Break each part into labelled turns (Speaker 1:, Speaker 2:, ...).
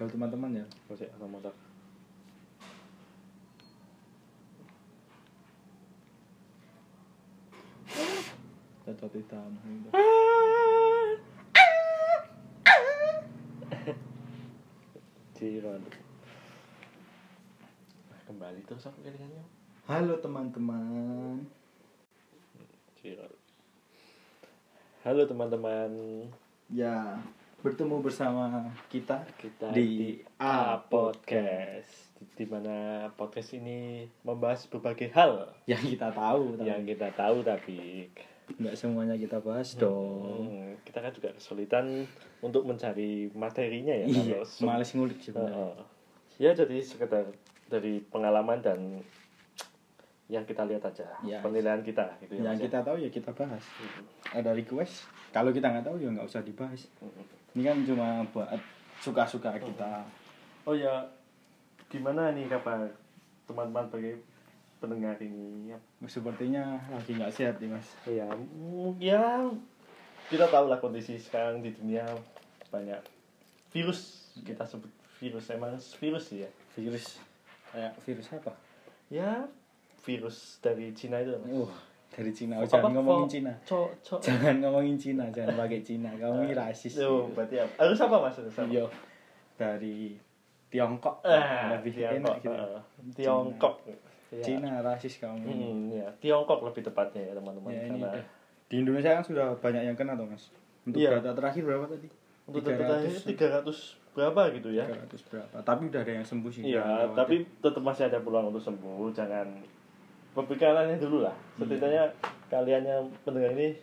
Speaker 1: Kalau teman-teman ya, kalau saya akan masak. Cacat hitam. gitu.
Speaker 2: Ciron. Nah, Kembali terus aku pilihannya.
Speaker 1: Halo teman-teman.
Speaker 2: Ciron. Halo teman-teman.
Speaker 1: Ya, bertemu bersama kita
Speaker 2: Kita
Speaker 1: Di A
Speaker 2: Podcast. Di mana podcast ini membahas berbagai hal
Speaker 1: yang Ya, kita tahu,
Speaker 2: yang
Speaker 1: tapi
Speaker 2: kita tahu tapi
Speaker 1: nggak semuanya kita bahas dong.
Speaker 2: hmm, kita kan juga kesulitan untuk mencari materinya ya.
Speaker 1: Iya,
Speaker 2: kalau sem-
Speaker 1: males ngulik sebenarnya.
Speaker 2: Heeh. Ya jadi sekedar dari pengalaman dan yang kita lihat aja
Speaker 1: Ya.
Speaker 2: penilaian kita gitu ya. Mas, ya?
Speaker 1: Yang kita tahu ya kita bahas. Ada request, kalau kita nggak tahu ya nggak usah dibahas. Ini kan cuma buat suka-suka kita.
Speaker 2: Oh ya, gimana nih kabar teman-teman sebagai pendengar ini?
Speaker 1: Sepertinya lagi nggak sehat nih mas.
Speaker 2: Ya, mm, ya kita tahu lah kondisi sekarang di dunia banyak virus kita sebut virus emang virus sih ya.
Speaker 1: Virus kayak virus apa?
Speaker 2: Ya virus dari Cina itu. Mas.
Speaker 1: Uh, dari Cina. Oh,
Speaker 2: Apa-
Speaker 1: jangan ngomongin
Speaker 2: kok-
Speaker 1: Cina.
Speaker 2: Cok, cok.
Speaker 1: Jangan ngomongin Cina, jangan pakai Cina. Kamu
Speaker 2: Eh,
Speaker 1: ini rasis.
Speaker 2: Tuh, berarti apa? Harus apa mas? Harus apa?
Speaker 1: Iya. Dari Tiongkok
Speaker 2: Ah,
Speaker 1: lebih
Speaker 2: Tiongkok.
Speaker 1: enak gitu. Iya.
Speaker 2: ah. Tiongkok. Ya.
Speaker 1: Cina rasis kamu. ini.
Speaker 2: Hmm, ya. Tiongkok lebih tepatnya ya teman-teman.
Speaker 1: Ya, ini
Speaker 2: Karena
Speaker 1: udah. Di Indonesia kan sudah banyak yang kena tuh mas. Untuk
Speaker 2: Iya.
Speaker 1: data terakhir berapa tadi?
Speaker 2: untuk tiga ratus berapa gitu ya?
Speaker 1: 300 berapa? Tapi udah ada yang sembuh sih.
Speaker 2: Iya,
Speaker 1: Jangan khawatir.
Speaker 2: tapi tetap masih ada peluang untuk sembuh. Jangan pembekalannya dulu lah.
Speaker 1: Iya.
Speaker 2: Setidaknya kalian yang pendengar ini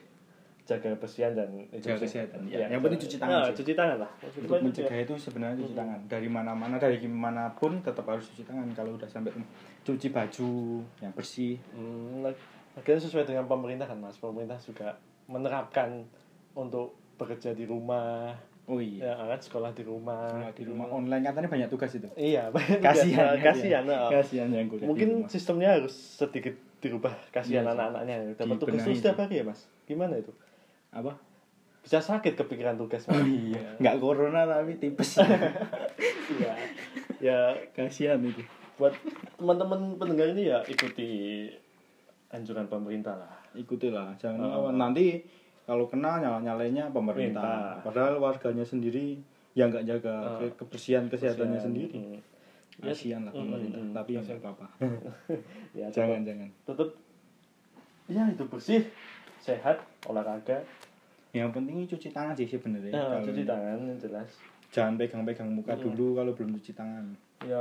Speaker 2: jaga kebersihan dan
Speaker 1: Jaga
Speaker 2: hidup
Speaker 1: kesehatan,
Speaker 2: sehat.
Speaker 1: iya.
Speaker 2: Iya,
Speaker 1: Yang penting cuci tangan
Speaker 2: Nah,
Speaker 1: sih.
Speaker 2: cuci tangan lah.
Speaker 1: untuk mencegah itu sebenarnya cuci tangan dari mana-mana dari gimana pun tetap harus cuci tangan kalau udah sampai rumah. cuci baju yang bersih
Speaker 2: Hmm, lag- lagian sesuai dengan pemerintah kan mas. Pemerintah juga menerapkan untuk bekerja di rumah,
Speaker 1: oh iya
Speaker 2: ya, kan sekolah di rumah. gitu.
Speaker 1: Kalau di rumah online katanya banyak tugas itu
Speaker 2: Iya,
Speaker 1: kasihan
Speaker 2: kasihan, kasihan.
Speaker 1: ya.
Speaker 2: oh.
Speaker 1: kasihan yang gitu, kuliah di
Speaker 2: Mungkin
Speaker 1: rumah.
Speaker 2: sistemnya harus sedikit dirubah
Speaker 1: Iya
Speaker 2: kasihan
Speaker 1: sih.
Speaker 2: anak-anaknya. Dapat tugas
Speaker 1: Dibenahi.
Speaker 2: terus setiap hari ya, Mas. Gimana itu?
Speaker 1: apa
Speaker 2: Bisa sakit kepikiran tugas. Mas.
Speaker 1: oh iya nggak corona tapi tipes
Speaker 2: Iya. ya,
Speaker 1: kasihan itu
Speaker 2: buat teman-teman pendengar ini ya ikuti anjuran pemerintah lah.
Speaker 1: ikutilah jangan
Speaker 2: Oh.
Speaker 1: ngelawan. nanti kalau kena nyala nyalainya pemerintah Ah.
Speaker 2: Pemerintah.
Speaker 1: padahal warganya sendiri yang nggak jaga
Speaker 2: Oh.
Speaker 1: ke- kebersihan kesehatannya
Speaker 2: Kasihan.
Speaker 1: sendiri
Speaker 2: Hmm. Ya,
Speaker 1: kasihan lah
Speaker 2: mm,
Speaker 1: pemerintah
Speaker 2: mm, mm.
Speaker 1: tapi ya nggak apa-apa
Speaker 2: Ya,
Speaker 1: jangan jangan
Speaker 2: tetap ya itu bersih, sehat, olahraga,
Speaker 1: yang penting cuci tangan sih sebenarnya
Speaker 2: Nah,
Speaker 1: Kalau-
Speaker 2: cuci tangan yang jelas.
Speaker 1: Ah, jangan pegang-pegang muka
Speaker 2: Iya.
Speaker 1: dulu kalau belum cuci tangan
Speaker 2: Ya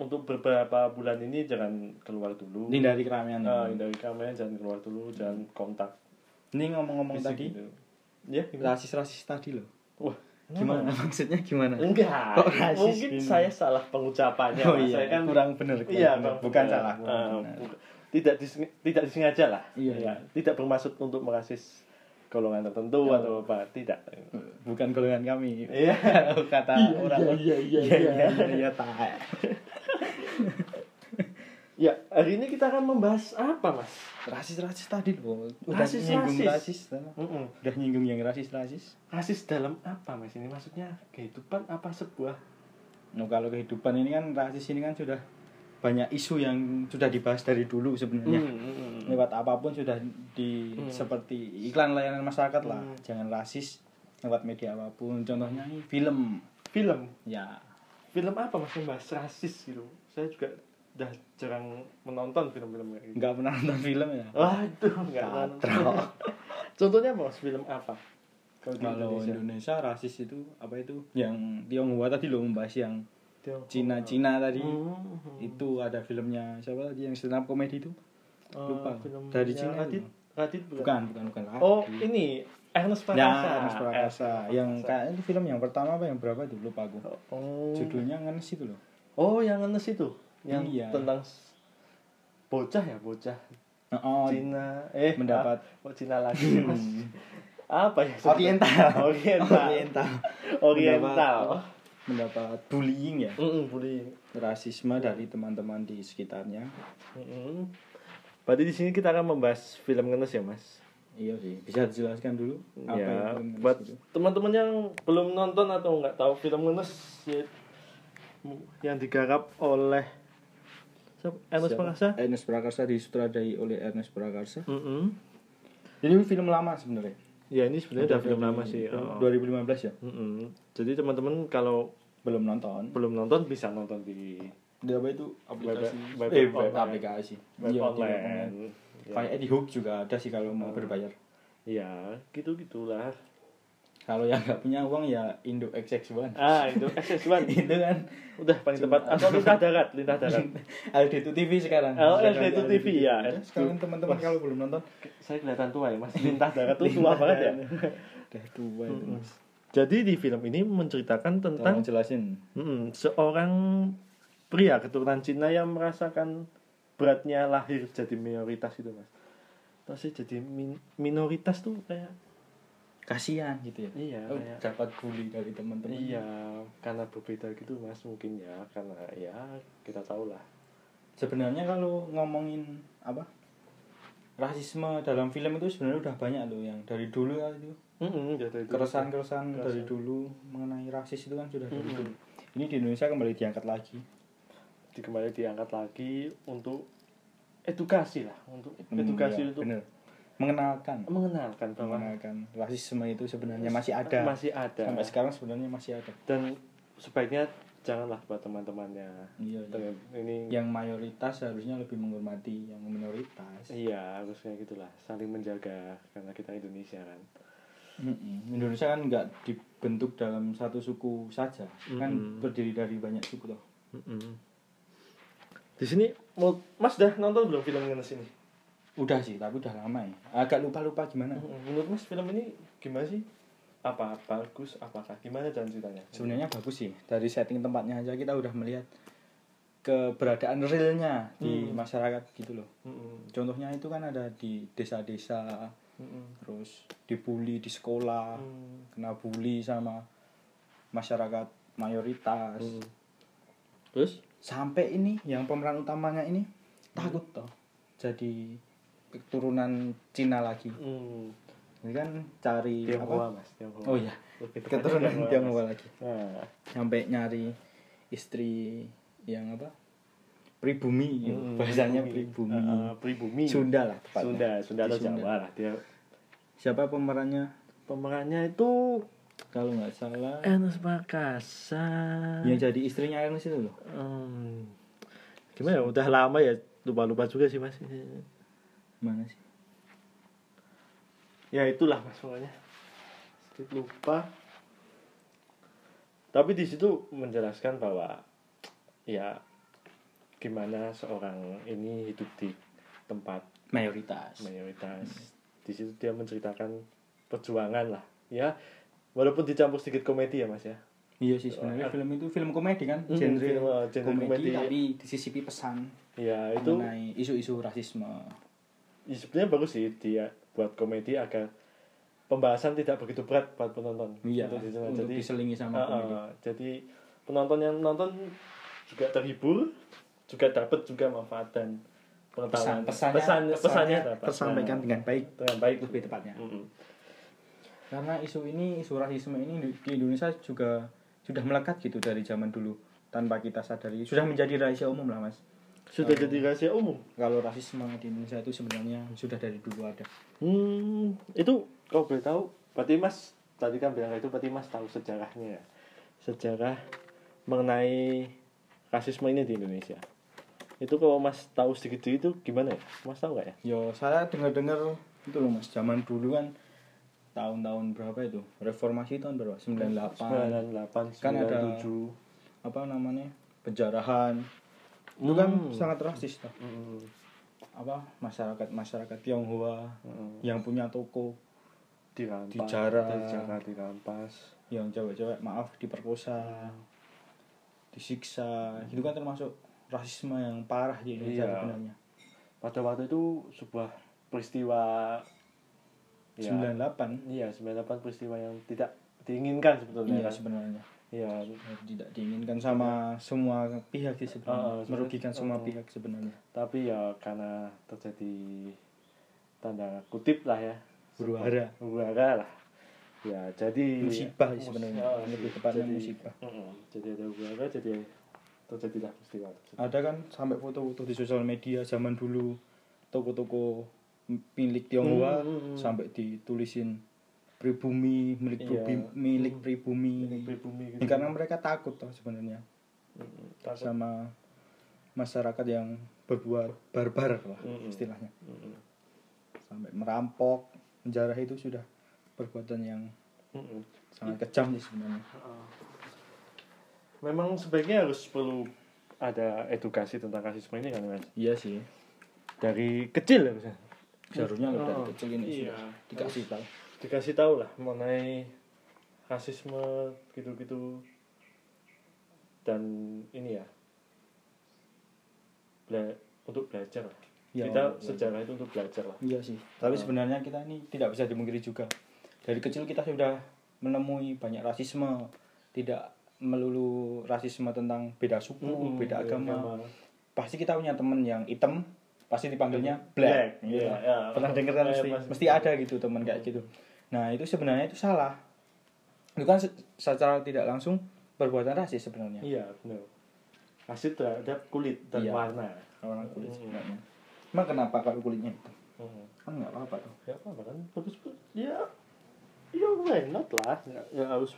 Speaker 2: untuk beberapa bulan ini jangan keluar dulu.
Speaker 1: hindari keramaian
Speaker 2: Nah, hindari kamera, jangan keluar dulu, jangan kontak.
Speaker 1: ini ngomong-ngomong
Speaker 2: fisik
Speaker 1: tadi
Speaker 2: gitu. Ya, gimana?
Speaker 1: rasis-rasis tadi loh
Speaker 2: Wah,
Speaker 1: gimana maksudnya gimana
Speaker 2: Enggak.
Speaker 1: Kok rasis
Speaker 2: Mungkin
Speaker 1: gini?
Speaker 2: saya salah pengucapannya.
Speaker 1: oh
Speaker 2: Mas.
Speaker 1: iya
Speaker 2: saya kan
Speaker 1: kurang bener kurang
Speaker 2: Iya,
Speaker 1: bener.
Speaker 2: Bang.
Speaker 1: bukan
Speaker 2: Iya.
Speaker 1: salah kurang
Speaker 2: Eh,
Speaker 1: bener.
Speaker 2: bukan. tidak diseng- tidak disengaja lah.
Speaker 1: Iya.
Speaker 2: tidak bermaksud untuk merasis golongan tertentu
Speaker 1: Iya.
Speaker 2: atau apa, tidak.
Speaker 1: bukan golongan kami
Speaker 2: Iya.
Speaker 1: kata orang
Speaker 2: iya, iya,
Speaker 1: iya
Speaker 2: iya.
Speaker 1: iya iya iya tak
Speaker 2: Ya, hari ini kita akan membahas apa, Mas?
Speaker 1: rasis-rasis tadi loh
Speaker 2: Rasis-rasis.
Speaker 1: nyinggung rasis udah
Speaker 2: Mm-mm.
Speaker 1: nyinggung yang rasis-rasis
Speaker 2: Rasis dalam apa, Mas? Ini maksudnya kehidupan apa sebuah
Speaker 1: Nah, kalau kehidupan ini kan rasis ini kan sudah banyak isu yang sudah dibahas dari dulu sebenarnya
Speaker 2: Mm, mm, mm, mm.
Speaker 1: lewat apapun sudah di
Speaker 2: Hmm.
Speaker 1: seperti iklan layanan masyarakat lah
Speaker 2: Hmm.
Speaker 1: jangan rasis lewat media apapun contohnya ini film
Speaker 2: film?
Speaker 1: ya
Speaker 2: film apa mas yang bahas rasis gitu saya juga udah jarang menonton film-film kayak gitu
Speaker 1: nggak pernah nonton film ya
Speaker 2: waduh nggak
Speaker 1: Katro.
Speaker 2: nonton contohnya mas film apa kalau di
Speaker 1: kalau
Speaker 2: Indonesia
Speaker 1: Indonesia rasis itu apa itu yang Tionghoa tadi lo membahas yang
Speaker 2: Tiongkok.
Speaker 1: Cina Cina tadi
Speaker 2: Hmm, hmm.
Speaker 1: itu ada filmnya siapa tadi yang stand up komedi itu
Speaker 2: Eh,
Speaker 1: lupa.
Speaker 2: filmnya
Speaker 1: Dari Cina
Speaker 2: Radit
Speaker 1: itu.
Speaker 2: Radit bukan,
Speaker 1: bukan bukan bukan lagi.
Speaker 2: oh ini Ernest Prakasa
Speaker 1: ya Ernest Iya. Prakasa
Speaker 2: Eh,
Speaker 1: yang
Speaker 2: Prakasa.
Speaker 1: kayaknya itu film yang pertama apa yang berapa itu lupa aku
Speaker 2: oh
Speaker 1: judulnya Ngenes itu loh
Speaker 2: oh yang Ernest itu yang
Speaker 1: Iya.
Speaker 2: tentang s- bocah ya bocah
Speaker 1: oh,
Speaker 2: Cina eh
Speaker 1: mendapat- Hmm.
Speaker 2: ah, oh, Cina lagi mas apa ya
Speaker 1: Oriental.
Speaker 2: Oriental
Speaker 1: Oriental. Oh,
Speaker 2: Oriental.
Speaker 1: iya, mendapat bullying ya
Speaker 2: Mm-mm, bullying.
Speaker 1: rasisme dari teman-teman di sekitarnya
Speaker 2: Mm-mm. Berarti di sini kita akan membahas film Ngenes ya, Mas.
Speaker 1: Iya sih. Bisa dijelaskan dulu apa
Speaker 2: ya,
Speaker 1: itu Ngenes gitu?
Speaker 2: buat
Speaker 1: itu?
Speaker 2: teman-teman yang belum nonton atau nggak tahu film Ngenes ya, yang digarap oleh siapa?
Speaker 1: Siapa?
Speaker 2: Ernest
Speaker 1: Eh.
Speaker 2: Prakasa.
Speaker 1: Ernest Prakasa disutradarai oleh Ernest Prakasa.
Speaker 2: Mm-mm.
Speaker 1: Jadi ini film lama sebenarnya.
Speaker 2: Ya ini sebenarnya udah film
Speaker 1: Dari
Speaker 2: lama sih. oh.
Speaker 1: 2015 ya.
Speaker 2: Mm-mm. Jadi teman-teman kalau
Speaker 1: Belum nonton.
Speaker 2: belum nonton bisa nonton di
Speaker 1: Di apa itu aplikasi?
Speaker 2: Web- web
Speaker 1: eh, web
Speaker 2: online.
Speaker 1: aplikasi.
Speaker 2: web
Speaker 1: Iya, di
Speaker 2: online. Oh.
Speaker 1: online. Kayak di Hook juga ada sih kalau mau berbayar.
Speaker 2: Ya, gitu-gitulah.
Speaker 1: Kalau yang nggak punya uang ya Indo XX1.
Speaker 2: Ah, itu SS1.
Speaker 1: itu kan
Speaker 2: Udah paling tepat atau lintah darat, lintah darat.
Speaker 1: LD2 TV sekarang.
Speaker 2: Oh,
Speaker 1: Sekarang
Speaker 2: LD2
Speaker 1: LD2
Speaker 2: TV, ya.
Speaker 1: Sekalian Eh, teman-teman kalau belum nonton
Speaker 2: Saya kelihatan tua ya, Mas. Lintah darat tuh tua banget ya.
Speaker 1: udah tua itu Mas.
Speaker 2: Jadi di film ini menceritakan tentang
Speaker 1: Tolong jelasin.
Speaker 2: Mm-mm, seorang pria keturunan Cina yang merasakan beratnya lahir jadi minoritas itu, Mas. Terus sih jadi min- minoritas tuh kayak
Speaker 1: Kasihan gitu ya.
Speaker 2: iya,
Speaker 1: Oh,
Speaker 2: kayak
Speaker 1: dapat bully dari teman-teman.
Speaker 2: Iya, karena berbeda gitu mas mungkin ya, karena ya kita tahu lah.
Speaker 1: Sebenarnya kalau ngomongin apa? Rasisme dalam film itu sebenarnya udah banyak loh yang dari dulu ya itu.
Speaker 2: Mm-mm, ya dari dulu.
Speaker 1: Keresahan-keresahan
Speaker 2: Keresahan.
Speaker 1: dari dulu mengenai rasis itu kan sudah dari
Speaker 2: Mm-mm.
Speaker 1: dulu. Ini di Indonesia kembali diangkat lagi.
Speaker 2: Di- kembali diangkat lagi untuk edukasi lah, untuk
Speaker 1: Hmm,
Speaker 2: edukasi
Speaker 1: iya,
Speaker 2: untuk
Speaker 1: bener. mengenalkan
Speaker 2: mengenalkan bahwa eh,
Speaker 1: mengenalkan rasisme itu sebenarnya masih ada.
Speaker 2: masih ada
Speaker 1: Sampai sekarang sebenarnya masih ada.
Speaker 2: dan sebaiknya janganlah buat teman-temannya.
Speaker 1: Iya. iya.
Speaker 2: Teman- Ini
Speaker 1: Yang mayoritas harusnya lebih menghormati yang minoritas.
Speaker 2: iya harusnya gitulah, saling menjaga karena kita Indonesia kan.
Speaker 1: Mm-mm. Indonesia kan nggak dibentuk dalam satu suku saja, kan
Speaker 2: Mm-mm.
Speaker 1: berdiri dari banyak suku toh.
Speaker 2: Di sini mau Mas dah nonton belum film Ngenes ini?
Speaker 1: Udah sih, tapi udah lama ya. Agak lupa-lupa gimana.
Speaker 2: Menurut Mas film ini gimana sih? Apa bagus? Apakah gimana jalan ceritanya?
Speaker 1: Sebenarnya bagus sih. Dari setting tempatnya aja kita udah melihat keberadaan realnya di
Speaker 2: Mm.
Speaker 1: masyarakat gitu loh.
Speaker 2: Mm-mm.
Speaker 1: Contohnya itu kan ada di desa-desa,
Speaker 2: Mm-mm.
Speaker 1: terus dibully di sekolah,
Speaker 2: Mm.
Speaker 1: kena bully sama masyarakat mayoritas.
Speaker 2: Mm. Terus?
Speaker 1: sampai ini yang pemeran utamanya ini takut toh jadi keturunan Cina lagi
Speaker 2: Mm.
Speaker 1: ini kan cari
Speaker 2: Tionghoa
Speaker 1: apa
Speaker 2: Mas. Tionghoa.
Speaker 1: oh iya
Speaker 2: Lebih tepatnya
Speaker 1: keturunan
Speaker 2: Mas.
Speaker 1: Tionghoa lagi
Speaker 2: Nah.
Speaker 1: sampai nyari istri yang apa pribumi gitu.
Speaker 2: Mm-mm.
Speaker 1: Iya, bahasanya pribumi
Speaker 2: Eh, eh, Hmm, pribumi.
Speaker 1: Sunda lah tepatnya.
Speaker 2: Sunda, Sunda
Speaker 1: Di
Speaker 2: atau
Speaker 1: Sunda.
Speaker 2: Jawa lah dia.
Speaker 1: siapa pemerannya
Speaker 2: Pemerannya itu
Speaker 1: kalau nggak salah
Speaker 2: Ernest Prakasa.
Speaker 1: yang jadi istrinya Ernest itu loh
Speaker 2: Hmm. Gimana ya? Udah lama ya lupa-lupa juga sih Mas.
Speaker 1: mana sih
Speaker 2: ya itulah mas pokoknya sedikit lupa tapi di situ menjelaskan bahwa ya gimana seorang ini hidup di tempat
Speaker 1: mayoritas
Speaker 2: mayoritas di situ dia menceritakan perjuangan lah ya walaupun dicampur sedikit komedi ya mas ya
Speaker 1: iya sih sebenarnya film itu film komedi kan
Speaker 2: Mm,
Speaker 1: genre,
Speaker 2: Ah. film, uh, genre
Speaker 1: komedi,
Speaker 2: komedi.
Speaker 1: tapi disisipi pesan
Speaker 2: ya itu
Speaker 1: mengenai isu-isu rasisme
Speaker 2: ya sebenarnya bagus sih dia buat komedi agar pembahasan tidak begitu berat buat penonton
Speaker 1: Iya,
Speaker 2: Untuk di sana.
Speaker 1: untuk
Speaker 2: jadi
Speaker 1: diselingi sama
Speaker 2: Ah,
Speaker 1: komedi.
Speaker 2: ah, jadi penonton yang nonton juga terhibur, juga dapat juga manfaat dan pengetahuan.
Speaker 1: Pesan-pesannya-
Speaker 2: pesannya, pesannya
Speaker 1: pesannya
Speaker 2: dapat.
Speaker 1: tersampaikan
Speaker 2: Nah,
Speaker 1: dengan baik.
Speaker 2: dengan baik
Speaker 1: lebih tepatnya.
Speaker 2: Mm-mm.
Speaker 1: Karena isu ini, isu rasisme ini di di Indonesia juga sudah melekat gitu dari zaman dulu tanpa kita sadari. Sudah menjadi rahasia umum lah, Mas.
Speaker 2: Sudah jadi rahasia umum.
Speaker 1: Kalau rasisme di Indonesia itu sebenarnya sudah dari dulu ada.
Speaker 2: Hmm, itu kau boleh tahu. Berarti Mas tadi kan bilang itu berarti Mas tahu sejarahnya ya. Sejarah mengenai rasisme ini di Indonesia. Itu kalau Mas tahu sedikit itu gimana ya? Mas tahu nggak ya?
Speaker 1: Yo, saya dengar-dengar itu loh, Mas. Zaman dulu kan tahun-tahun berapa itu? Reformasi tahun berapa? 98.
Speaker 2: 98,
Speaker 1: Kan ada-
Speaker 2: 97.
Speaker 1: Apa namanya? Penjarahan. Itu kan
Speaker 2: Hmm.
Speaker 1: sangat rasis toh.
Speaker 2: Mm-mm.
Speaker 1: Apa masyarakat masyarakat Tionghoa
Speaker 2: Mm-mm.
Speaker 1: yang punya toko
Speaker 2: dirampas
Speaker 1: Dijarah.
Speaker 2: dijarah dirampas
Speaker 1: yang cewek-cewek maaf diperkosa disiksa itu kan termasuk rasisme yang parah di Indonesia
Speaker 2: Iya.
Speaker 1: sebenarnya
Speaker 2: pada waktu itu sebuah peristiwa ya,
Speaker 1: 98
Speaker 2: iya 98 peristiwa yang tidak diinginkan sebetulnya
Speaker 1: iya
Speaker 2: kan.
Speaker 1: sebenarnya Ya,
Speaker 2: iya
Speaker 1: tidak diinginkan sama semua pihak sih
Speaker 2: Ah,
Speaker 1: sebenarnya
Speaker 2: ah,
Speaker 1: merugikan semua
Speaker 2: ah.
Speaker 1: pihak sebenarnya
Speaker 2: tapi ya karena terjadi tanda kutip lah ya
Speaker 1: Berwarna.
Speaker 2: Huru-hara lah. Ya, jadi
Speaker 1: Musibah sih sebenarnya.
Speaker 2: Musibah sih.
Speaker 1: Lebih tepatnya
Speaker 2: Jadi-
Speaker 1: musibah.
Speaker 2: Mm-mm. Jadi ada huru-hara, jadi terjadilah peristiwa. tersebut.
Speaker 1: Ada kan sampai foto-foto di sosial media zaman dulu toko-toko milik Tionghoa
Speaker 2: Hmm, hmm, hmm.
Speaker 1: sampai ditulisin pribumi milik
Speaker 2: Iya.
Speaker 1: pribumi, milik
Speaker 2: Hmm.
Speaker 1: pribumi.
Speaker 2: Ini pribumi gitu.
Speaker 1: Ya, karena mereka takut toh sebenarnya
Speaker 2: Mm-mm. Takut.
Speaker 1: sama masyarakat yang berbuat barbar lah
Speaker 2: Mm-mm.
Speaker 1: istilahnya
Speaker 2: Mm-mm.
Speaker 1: sampai merampok menjarah itu sudah perbuatan yang
Speaker 2: Mm-mm.
Speaker 1: sangat kejam sih sebenarnya
Speaker 2: Memang sebaiknya harus perlu ada edukasi tentang rasisme ini kan Mas.
Speaker 1: iya sih
Speaker 2: Dari kecil ya, harusnya.
Speaker 1: seharusnya udah dari
Speaker 2: Oh,
Speaker 1: kecil ini
Speaker 2: iya.
Speaker 1: sudah dikasih tahu
Speaker 2: dikasih tahu lah mengenai rasisme gitu-gitu dan ini ya bela- untuk belajar lah.
Speaker 1: Ya,
Speaker 2: kita
Speaker 1: untuk belajar.
Speaker 2: sejarah itu untuk belajar lah
Speaker 1: iya sih tapi
Speaker 2: Oh.
Speaker 1: sebenarnya kita ini tidak bisa dimungkiri juga dari kecil kita sudah menemui banyak rasisme tidak melulu rasisme tentang beda suku
Speaker 2: Mm-mm, Iya,
Speaker 1: beda agama pasti kita punya temen yang hitam pasti dipanggilnya
Speaker 2: Black,
Speaker 1: black, gitu.
Speaker 2: iya, iya.
Speaker 1: pernah denger kan
Speaker 2: Iya,
Speaker 1: mesti
Speaker 2: pasti.
Speaker 1: mesti ada gitu temen kayak
Speaker 2: Hmm.
Speaker 1: gitu nah itu sebenarnya itu salah itu kan se- secara tidak langsung perbuatan rasis sebenarnya
Speaker 2: iya benar rasis terhadap kulit dan
Speaker 1: Iya.
Speaker 2: warna
Speaker 1: orang kulit
Speaker 2: Mm.
Speaker 1: sebenarnya emang kenapa kalau kulitnya hitam
Speaker 2: hmm.
Speaker 1: kan nggak apa-apa tuh
Speaker 2: ya apa kan bagus ya ya why not lah Nggak- nggak harus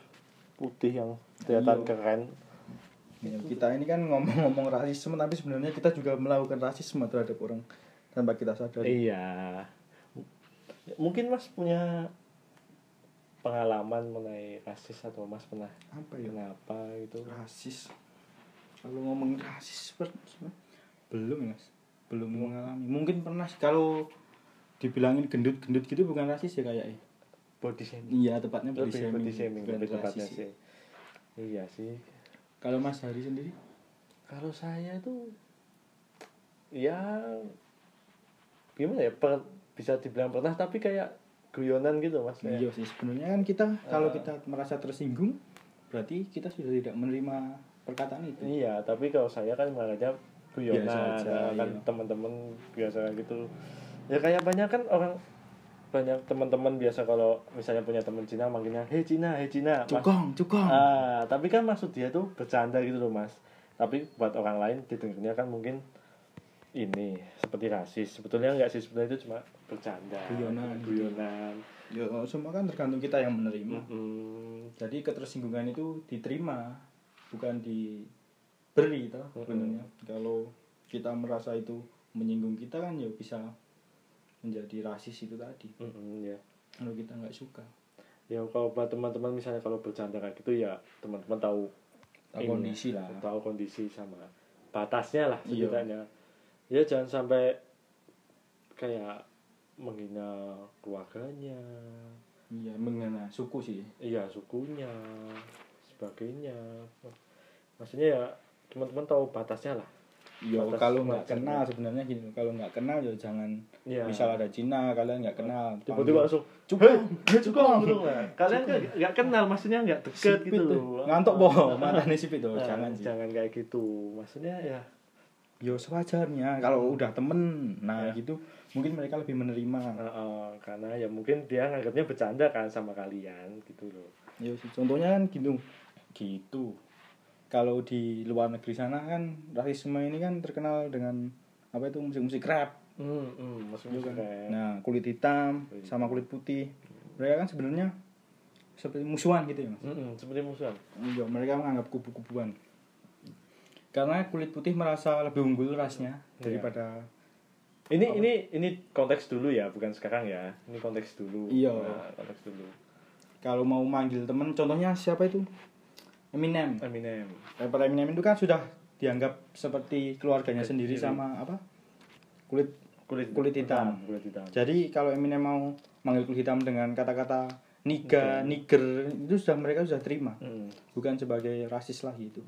Speaker 2: putih yang
Speaker 1: Iya.
Speaker 2: kelihatan keren
Speaker 1: Ya, kita ini kan ngomong-ngomong rasisme tapi sebenarnya kita juga melakukan rasisme terhadap orang tanpa kita sadari
Speaker 2: Iya. Mungkin Mas punya pengalaman mengenai rasis atau Mas pernah
Speaker 1: apa ya
Speaker 2: kenapa gitu?
Speaker 1: rasis kalau ngomong rasis per- belum ya mas belum mengalami mungkin pernah sih. kalau dibilangin gendut-gendut gitu bukan rasis ya kayaknya
Speaker 2: Body shaming.
Speaker 1: iya tepatnya body
Speaker 2: Lebih
Speaker 1: shaming,
Speaker 2: body shaming
Speaker 1: bukan
Speaker 2: lebih tepatnya
Speaker 1: rasis ya.
Speaker 2: sih. Iya sih.
Speaker 1: kalau mas Hari sendiri
Speaker 2: Kalau saya tuh ya gimana ya per- bisa dibilang pernah tapi kayak guyonan gitu Mas. Kayak-
Speaker 1: iya sih sebenarnya kan kita kalau
Speaker 2: Eh.
Speaker 1: kita merasa tersinggung berarti kita sudah tidak menerima perkataan itu
Speaker 2: Iya, tapi kalau saya kan makanya guyonan,
Speaker 1: Biasa aja,
Speaker 2: nah, kan
Speaker 1: iya.
Speaker 2: teman-teman biasa gitu. Ya kayak banyak kan orang banyak teman-teman biasa kalau misalnya punya teman Cina manggilnya hei Cina, hei Cina. Mas-
Speaker 1: cukong cukong
Speaker 2: Ah, tapi kan maksud dia tuh bercanda gitu loh, Mas. Tapi buat orang lain didengarnya kan mungkin ini seperti rasis. Sebetulnya enggak sih, sebetulnya itu cuma bercanda.
Speaker 1: Guyonan.
Speaker 2: guyonan.
Speaker 1: ya semua kan tergantung kita yang menerima
Speaker 2: Mm-mm.
Speaker 1: jadi ketersinggungan itu diterima bukan diberi toh
Speaker 2: Mm-mm.
Speaker 1: sebenarnya kalau kita merasa itu menyinggung kita kan ya bisa menjadi rasis itu tadi
Speaker 2: Mm-mm, ya.
Speaker 1: kalau kita nggak suka
Speaker 2: ya kalau buat teman-teman misalnya kalau bercanda kayak gitu ya teman-teman tahu
Speaker 1: Tahu
Speaker 2: ini,
Speaker 1: kondisi lah.
Speaker 2: tahu kondisi sama batasnya lah
Speaker 1: Iya.
Speaker 2: setidaknya ya jangan sampai kayak menghina keluarganya
Speaker 1: iya mengenai suku sih
Speaker 2: iya sukunya sebagainya maksudnya ya teman-teman tahu batasnya lah
Speaker 1: Yo, Iya,
Speaker 2: Batas-
Speaker 1: kalau nggak
Speaker 2: batas-
Speaker 1: kenal sebenarnya gini kalau nggak kenal ya jangan
Speaker 2: Iya.
Speaker 1: misal ada Cina kalian nggak kenal
Speaker 2: tiba-tiba
Speaker 1: panggil,
Speaker 2: langsung
Speaker 1: "Cukong,
Speaker 2: hei,
Speaker 1: cukong."
Speaker 2: cukong gitu lah. kalian kan nggak kenal maksudnya nggak deket
Speaker 1: Sipit
Speaker 2: gitu
Speaker 1: tuh.
Speaker 2: loh
Speaker 1: ngantuk boh mata nih sipit tuh
Speaker 2: Nah,
Speaker 1: jangan sih
Speaker 2: jangan kayak gitu maksudnya ya
Speaker 1: yo sewajarnya
Speaker 2: Hmm.
Speaker 1: kalau udah temen nah
Speaker 2: Ya.
Speaker 1: gitu mungkin mereka lebih menerima
Speaker 2: Heeh, karena ya mungkin dia nganggapnya bercanda kan sama kalian gitu loh.
Speaker 1: Yo, contohnya kan gitu. Gitu. Kalau di luar negeri sana kan rasisme ini kan terkenal dengan apa itu musik-musik rap.
Speaker 2: Hmm, hmm,
Speaker 1: gitu
Speaker 2: maksudnya
Speaker 1: kan.
Speaker 2: kayak
Speaker 1: Nah, kulit hitam
Speaker 2: Kulit
Speaker 1: sama kulit putih. Mereka kan sebenarnya seperti musuhan gitu ya, Mas.
Speaker 2: Mm-mm, seperti Hmm, musuhan.
Speaker 1: Iya, mereka menganggap kubu-kubuan. Karena kulit putih merasa lebih unggul rasnya
Speaker 2: Iya.
Speaker 1: daripada
Speaker 2: Ini
Speaker 1: Apa?
Speaker 2: ini ini konteks dulu ya, bukan sekarang ya. Ini konteks dulu.
Speaker 1: Iya.
Speaker 2: Nah, konteks dulu.
Speaker 1: kalau mau manggil temen contohnya siapa itu? Eminem.
Speaker 2: Eminem.
Speaker 1: Rapper Eminem itu kan sudah dianggap seperti keluarganya
Speaker 2: Kayak
Speaker 1: sendiri
Speaker 2: sendiri.
Speaker 1: sama apa? Kulit
Speaker 2: Kulit
Speaker 1: Kulit hitam.
Speaker 2: kulit hitam.
Speaker 1: Jadi kalau Eminem mau manggil kulit hitam dengan kata-kata niga, niger, itu sudah mereka sudah terima.
Speaker 2: Hmm,
Speaker 1: Bukan sebagai rasis lagi itu.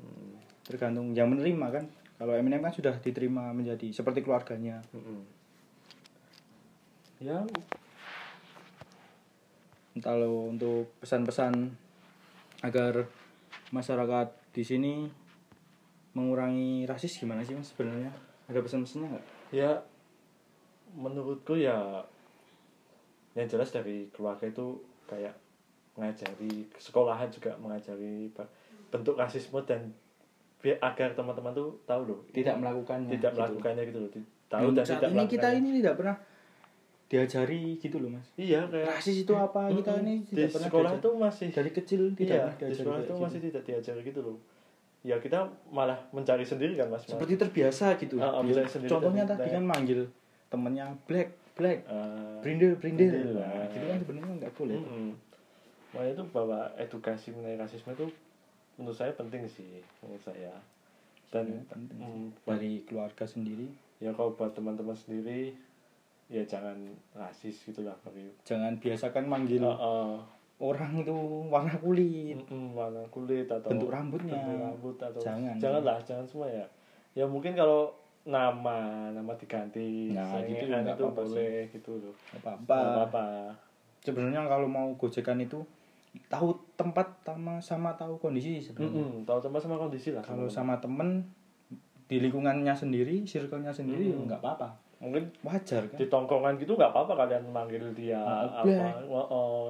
Speaker 1: Tergantung yang menerima kan. Kalau Eminem kan sudah diterima menjadi seperti keluarganya.
Speaker 2: hmm. Ya,
Speaker 1: Entah lo untuk pesan-pesan agar masyarakat di sini mengurangi rasis gimana sih mas sebenarnya? Ada pesan-pesannya nggak?
Speaker 2: ya menurutku ya yang jelas dari keluarga itu kayak mengajari sekolahan juga mengajari ba- bentuk rasisme dan biar agar teman-teman tuh tahu loh
Speaker 1: Tidak melakukannya.
Speaker 2: tidak
Speaker 1: gitu.
Speaker 2: melakukannya gitu loh Di- tahu
Speaker 1: Dan
Speaker 2: dan
Speaker 1: Hmm, saat
Speaker 2: tidak
Speaker 1: ini kita
Speaker 2: melakukannya.
Speaker 1: ini tidak pernah diajari gitu loh mas.
Speaker 2: iya kayak
Speaker 1: Rasis itu apa kita
Speaker 2: Mm-mm.
Speaker 1: ini
Speaker 2: di
Speaker 1: tidak pernah
Speaker 2: sekolah
Speaker 1: diajari.
Speaker 2: tuh masih
Speaker 1: dari kecil tidak
Speaker 2: iya
Speaker 1: pernah
Speaker 2: di
Speaker 1: diajari
Speaker 2: sekolah
Speaker 1: kayak
Speaker 2: tuh
Speaker 1: gitu.
Speaker 2: masih tidak diajari gitu loh ya kita malah mencari sendiri kan mas
Speaker 1: seperti terbiasa gitu.
Speaker 2: Ah, ah,
Speaker 1: Biasa.
Speaker 2: bisa sendiri
Speaker 1: Contohnya
Speaker 2: tapi
Speaker 1: tadi
Speaker 2: kayak-
Speaker 1: kan manggil temennya black black
Speaker 2: Eh,
Speaker 1: brindel brindel.
Speaker 2: Brindel,
Speaker 1: Nah,
Speaker 2: ah. Hmm.
Speaker 1: gitu kan sebenarnya nggak boleh.
Speaker 2: Mm-mm. Makanya itu bahwa edukasi mengenai rasisme itu menurut saya penting sih menurut saya. Dan
Speaker 1: Sebenarnya penting sih.
Speaker 2: mm, buat-
Speaker 1: Dari keluarga sendiri
Speaker 2: ya kalau buat teman-teman sendiri ya jangan rasis gitu lah bagi
Speaker 1: jangan biasakan manggil
Speaker 2: Eh, eh,
Speaker 1: orang itu warna kulit.
Speaker 2: mm-mm, warna kulit atau
Speaker 1: Bentuk rambutnya.
Speaker 2: bentuk rambut atau
Speaker 1: Jangan.
Speaker 2: janganlah jangan semua ya ya mungkin kalau nama nama diganti
Speaker 1: Nah, gitu
Speaker 2: saingan
Speaker 1: nggak
Speaker 2: itu
Speaker 1: apa-apa sih.
Speaker 2: boleh gitu loh
Speaker 1: Nggak
Speaker 2: Nggak
Speaker 1: apa-apa.
Speaker 2: apa-apa
Speaker 1: sebenarnya kalau mau gojekan itu tahu tempat sama sama tahu kondisi sebenarnya.
Speaker 2: Mm-mm, tahu tempat sama kondisi lah
Speaker 1: Kalau
Speaker 2: teman-teman.
Speaker 1: sama temen di lingkungannya sendiri, circle-nya sendiri
Speaker 2: Mm-mm.
Speaker 1: nggak apa-apa.
Speaker 2: mungkin
Speaker 1: Wajar kan?
Speaker 2: di tongkongan gitu nggak apa-apa kalian manggil dia
Speaker 1: Ah,
Speaker 2: apa
Speaker 1: Black.
Speaker 2: oh, oh.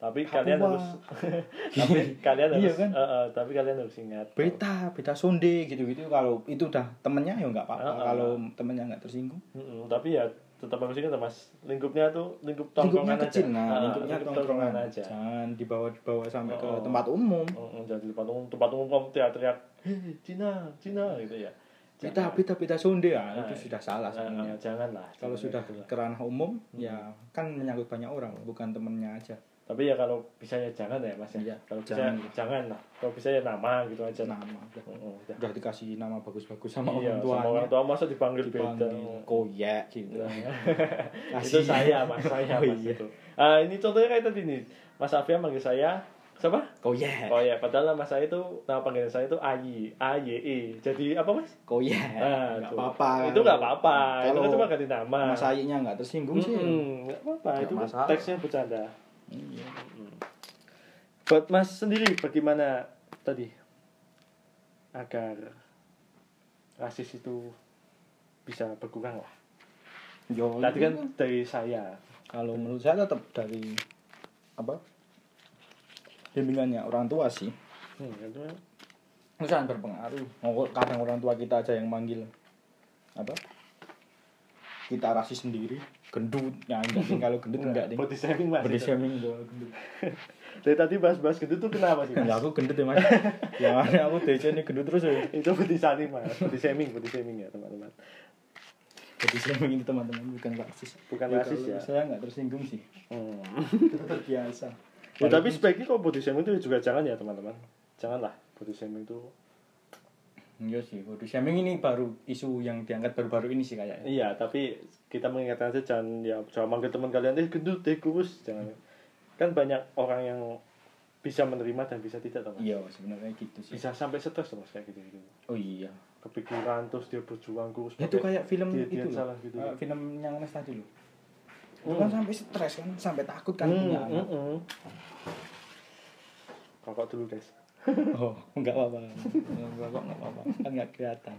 Speaker 2: tapi
Speaker 1: Papua.
Speaker 2: kalian harus tapi kalian
Speaker 1: Iya
Speaker 2: harus
Speaker 1: kan?
Speaker 2: eh, eh, tapi kalian harus ingat
Speaker 1: Beta, beta sonde gitu-gitu kalau itu udah temennya ya nggak apa-apa.
Speaker 2: Ah, ah.
Speaker 1: Kalau temennya nggak tersinggung,
Speaker 2: Mm-mm, tapi ya tetap harus ingat mas lingkupnya tuh lingkup tongkongan aja
Speaker 1: kecil nah,
Speaker 2: Ah,
Speaker 1: lingkupnya
Speaker 2: lingkup
Speaker 1: tongkrongan
Speaker 2: aja
Speaker 1: Jangan dibawa-dibawa sampai ke
Speaker 2: Oh.
Speaker 1: tempat umum.
Speaker 2: Mm-mm, jadi tempat umum tempat umum kamu teriak-teriak "Hei, Cina Cina gitu ya
Speaker 1: Beta, beta, beta sonde ya,
Speaker 2: Ah,
Speaker 1: itu sudah salah sebenarnya.
Speaker 2: jangan janganlah
Speaker 1: Kalau
Speaker 2: Jangan
Speaker 1: sudah
Speaker 2: gitu lah.
Speaker 1: ke ranah umum,
Speaker 2: Hmm.
Speaker 1: ya kan menyangkut banyak orang, bukan temennya aja.
Speaker 2: tapi ya kalau bisa ya jangan ya mas
Speaker 1: Iya,
Speaker 2: ya kalau bisa
Speaker 1: jangan.
Speaker 2: jangan lah kalau bisa ya nama gitu aja lah
Speaker 1: Nama udah.
Speaker 2: Mm-mm, udah.
Speaker 1: udah dikasih nama bagus-bagus sama orang
Speaker 2: Iya,
Speaker 1: tuanya
Speaker 2: sama orang tua masa dipanggil,
Speaker 1: dipanggil
Speaker 2: beda Nah, ya.
Speaker 1: koyak gitu
Speaker 2: itu
Speaker 1: Kasihan.
Speaker 2: saya mas saya
Speaker 1: Oh,
Speaker 2: mas
Speaker 1: iya.
Speaker 2: itu Ah, ini contohnya kayak tadi nih mas Afia manggil saya siapa
Speaker 1: koyak
Speaker 2: oh ya padahal nama saya itu nama panggilan saya itu Ayi A Y E jadi apa mas
Speaker 1: koyak
Speaker 2: Ah,
Speaker 1: nggak
Speaker 2: tuh.
Speaker 1: apa-apa
Speaker 2: itu nggak apa-apa itu
Speaker 1: kalau
Speaker 2: kan cuma ganti nama
Speaker 1: mas ayinya nggak tersinggung sih ya.
Speaker 2: Mm-mm, nggak apa-apa
Speaker 1: Nggak
Speaker 2: itu kan
Speaker 1: masalah.
Speaker 2: teksnya bercanda
Speaker 1: Iya.
Speaker 2: buat mas sendiri bagaimana tadi agar rasis itu bisa berkurang lah
Speaker 1: Yo,
Speaker 2: tadi
Speaker 1: itu
Speaker 2: kan dari saya
Speaker 1: kalau menurut saya tetap dari apa bimbingannya orang tua sih
Speaker 2: hmm, itu
Speaker 1: itu sangat berpengaruh Mau- kadang orang tua kita aja yang manggil apa kita rasis sendiri gendut ya enggak sih kalau gendut enggak deh
Speaker 2: body shaming mas
Speaker 1: body
Speaker 2: itu.
Speaker 1: shaming kalau gendut
Speaker 2: Dari tadi bahas-bahas gendut tuh kenapa sih?
Speaker 1: Enggak
Speaker 2: Mas?
Speaker 1: aku gendut ya mas Yang mana aku DC ini gendut terus ya
Speaker 2: itu body shaming mas, body shaming, body shaming ya teman-teman.
Speaker 1: Jadi saya ini teman-teman bukan rasis
Speaker 2: Bukan
Speaker 1: Ya,
Speaker 2: rasis
Speaker 1: kalau
Speaker 2: ya.
Speaker 1: Saya nggak tersinggung sih
Speaker 2: Hmm.
Speaker 1: Itu terbiasa Oh,
Speaker 2: Ya, tapi sebaiknya kalau body shaming itu juga jangan ya teman-teman, janganlah body shaming itu.
Speaker 1: Iya sih, waduh shaming ini baru isu yang diangkat baru-baru ini sih kayaknya
Speaker 2: Iya, tapi kita mengingatkan aja jangan ya jangan manggil teman kalian eh gendut, eh kurus, jangan. Kan banyak orang yang bisa menerima dan bisa tidak teman.
Speaker 1: Iya sebenarnya gitu sih
Speaker 2: Bisa sampai stres teman kayak gitu gitu.
Speaker 1: Oh iya
Speaker 2: Kepikiran terus dia berjuang kurus.
Speaker 1: Ya, Itu
Speaker 2: pakai
Speaker 1: kayak film
Speaker 2: diet-diet
Speaker 1: itu loh
Speaker 2: salah gitu.
Speaker 1: Eh, Film yang Nes tadi loh Itu
Speaker 2: Hmm.
Speaker 1: kan sampai stres kan, sampai takut kan
Speaker 2: Hmm,
Speaker 1: punya anak.
Speaker 2: hmm, hmm. Kakak dulu guys.
Speaker 1: Oh, enggak apa-apa Enggak apa-apa, enggak apa-apa Kan enggak kelihatan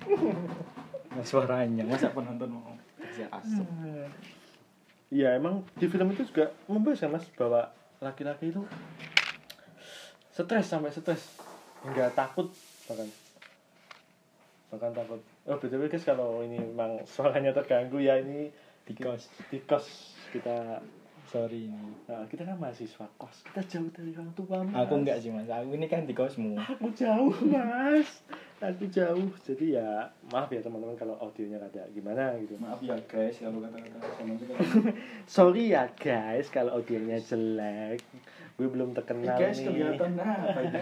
Speaker 1: Nah, suaranya, Hmm. masa penonton mau kasih asuh
Speaker 2: Ya emang di film itu juga membahas kan mas bahwa laki-laki itu stres sampai stres hingga takut bahkan bahkan takut. Oh btw guys kalau ini memang suaranya terganggu ya ini
Speaker 1: Because
Speaker 2: di kos kita
Speaker 1: Sorry ini
Speaker 2: nah, kita kan mahasiswa kos kita jauh dari orang tua mas.
Speaker 1: Aku enggak sih mas, aku ini kan di kosmu
Speaker 2: aku jauh mas aku jauh jadi ya maaf ya teman-teman kalau audionya ada gimana gitu
Speaker 1: Maaf ya guys, kalau kata-kata sama juga
Speaker 2: sorry ya guys kalau audionya jelek gue belum terkenal
Speaker 1: guys,
Speaker 2: nih
Speaker 1: kelihatan apa ini?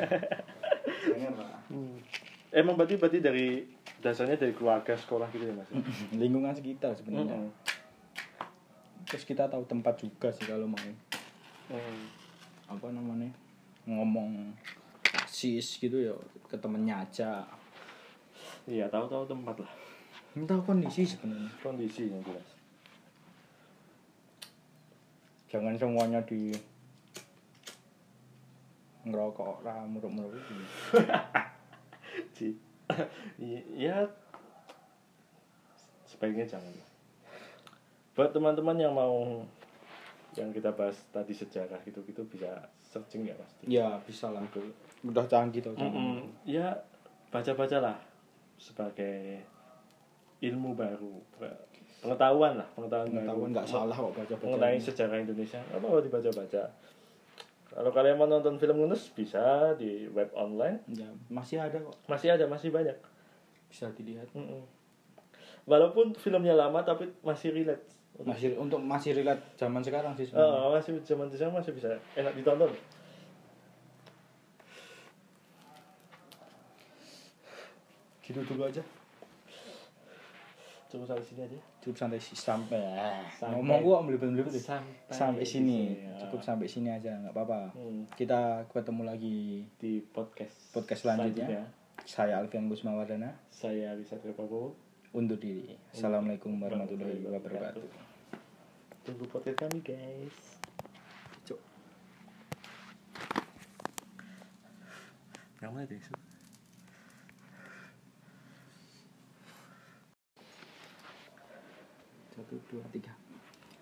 Speaker 1: Jangan lah
Speaker 2: Hmm. emang berarti berarti dari dasarnya dari keluarga sekolah gitu ya mas ya?
Speaker 1: Lingkungan sekitar sebenarnya
Speaker 2: Mm-mm.
Speaker 1: Terus kita tahu tempat juga sih kalau mau
Speaker 2: Hmm.
Speaker 1: Apa namanya Ngomong rasis gitu ya ke temennya aja
Speaker 2: iya tahu-tahu tempat lah
Speaker 1: Minta kondisi sebenarnya
Speaker 2: kondisi yang jelas
Speaker 1: Jangan semuanya di ngerokok lah muruk-muruk gitu.
Speaker 2: Ci. I- ya sebaiknya jangan buat teman-teman yang mau yang kita bahas tadi sejarah gitu-gitu bisa searching ya pasti.
Speaker 1: ya bisa lah udah canggih tau
Speaker 2: Mm-mm. Ya baca-bacalah sebagai ilmu baru, pe- pengetahuan lah, pengetahuan,
Speaker 1: tahu
Speaker 2: baru
Speaker 1: nggak salah kok baca baca
Speaker 2: mengenai sejarah Indonesia. Apa mau dibaca-baca? Kalau kalian mau nonton film Yunus bisa di web online.
Speaker 1: ya masih ada kok
Speaker 2: Masih ada, masih banyak.
Speaker 1: bisa dilihat
Speaker 2: Mm-mm. Walaupun filmnya lama tapi masih relate.
Speaker 1: masih untuk masih relate zaman sekarang sih
Speaker 2: Eh,
Speaker 1: sebenarnya.
Speaker 2: masih zaman sekarang masih bisa enak ditonton.
Speaker 1: gitu dulu aja
Speaker 2: Cukup sampai sini aja.
Speaker 1: cukup santai sih sampai eh,
Speaker 2: Sampai-
Speaker 1: ngomong gua melibet-melibet deh.
Speaker 2: Sampai,
Speaker 1: sampai
Speaker 2: di
Speaker 1: sini
Speaker 2: ya.
Speaker 1: cukup sampai sini aja nggak apa-apa
Speaker 2: Hmm,
Speaker 1: kita ketemu lagi
Speaker 2: di podcast
Speaker 1: Podcast selanjutnya. saya Alfian Gusmawardana
Speaker 2: Saya Wisat Prabowo.
Speaker 1: undur diri
Speaker 2: Hmm.
Speaker 1: assalamualaikum warahmatullahi wabarakatuh
Speaker 2: Tunggu podcast kami guys.
Speaker 1: Cuk.
Speaker 2: Kamu ada isu?
Speaker 1: satu dua tiga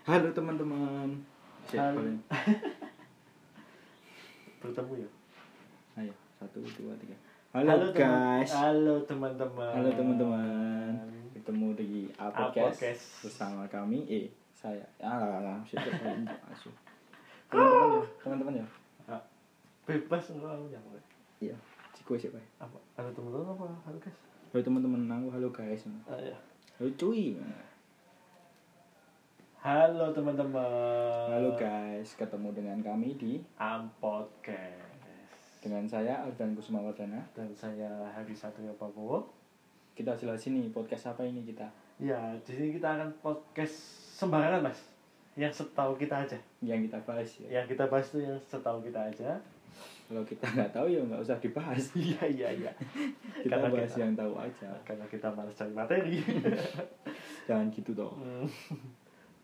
Speaker 1: halo teman-teman Siapa
Speaker 2: Halo.
Speaker 1: ini?
Speaker 2: Bertemu ya.
Speaker 1: ayo satu dua tiga halo, guys
Speaker 2: Teman, halo teman-teman.
Speaker 1: halo teman-teman ketemu di Apodcast
Speaker 2: Apodcast.
Speaker 1: bersama kami eh saya ah lah, lah, shit, shit, shit, asuh. teman-teman ya teman-teman ya
Speaker 2: Ah, Bebas enggak yang
Speaker 1: iya cikgu siapa ya?
Speaker 2: apa? Halo teman-teman apa? Halo guys.
Speaker 1: halo teman-teman aku halo guys
Speaker 2: Ah, ya.
Speaker 1: halo cuy
Speaker 2: Halo teman-teman.
Speaker 1: halo guys ketemu dengan kami di
Speaker 2: Am Podcast.
Speaker 1: dengan saya Ardan Kusumawardana
Speaker 2: Dan saya Hari Satria Prabowo.
Speaker 1: kita jelasin nih podcast apa ini kita
Speaker 2: Ya, di sini kita akan podcast sembarangan, Mas. Yang setahu kita aja.
Speaker 1: yang kita bahas ya
Speaker 2: Yang kita bahas itu yang setahu kita aja.
Speaker 1: kalau kita nggak tahu ya nggak usah dibahas
Speaker 2: Iya, iya, iya.
Speaker 1: kita
Speaker 2: Karena
Speaker 1: bahas
Speaker 2: kita-
Speaker 1: yang tahu aja
Speaker 2: Nah, Karena kita malas cari materi.
Speaker 1: jangan gitu toh
Speaker 2: Hmm,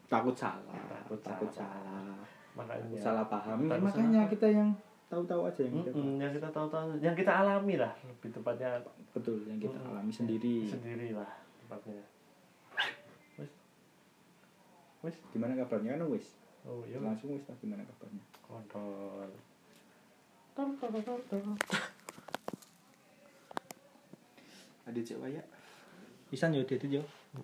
Speaker 1: takut salah
Speaker 2: Iya, Takut salah.
Speaker 1: salah
Speaker 2: Makanya.
Speaker 1: Takut salah paham
Speaker 2: Takut
Speaker 1: Ya,
Speaker 2: salah
Speaker 1: makanya
Speaker 2: paham.
Speaker 1: kita yang tahu-tahu aja yang kita
Speaker 2: Mm-mm, yang kita tahu-tahu, yang kita alami lah, lebih tepatnya
Speaker 1: betul yang kita
Speaker 2: Mm-mm.
Speaker 1: alami sendiri
Speaker 2: sendiri lah Hmm, iya. tempatnya. Wes, wes,
Speaker 1: gimana kabarnya kan wis
Speaker 2: oh iya, Mas.
Speaker 1: langsung wis lah, gimana kabarnya
Speaker 2: kontrol. ya,
Speaker 1: ada cek wayak pisan yo dia itu yo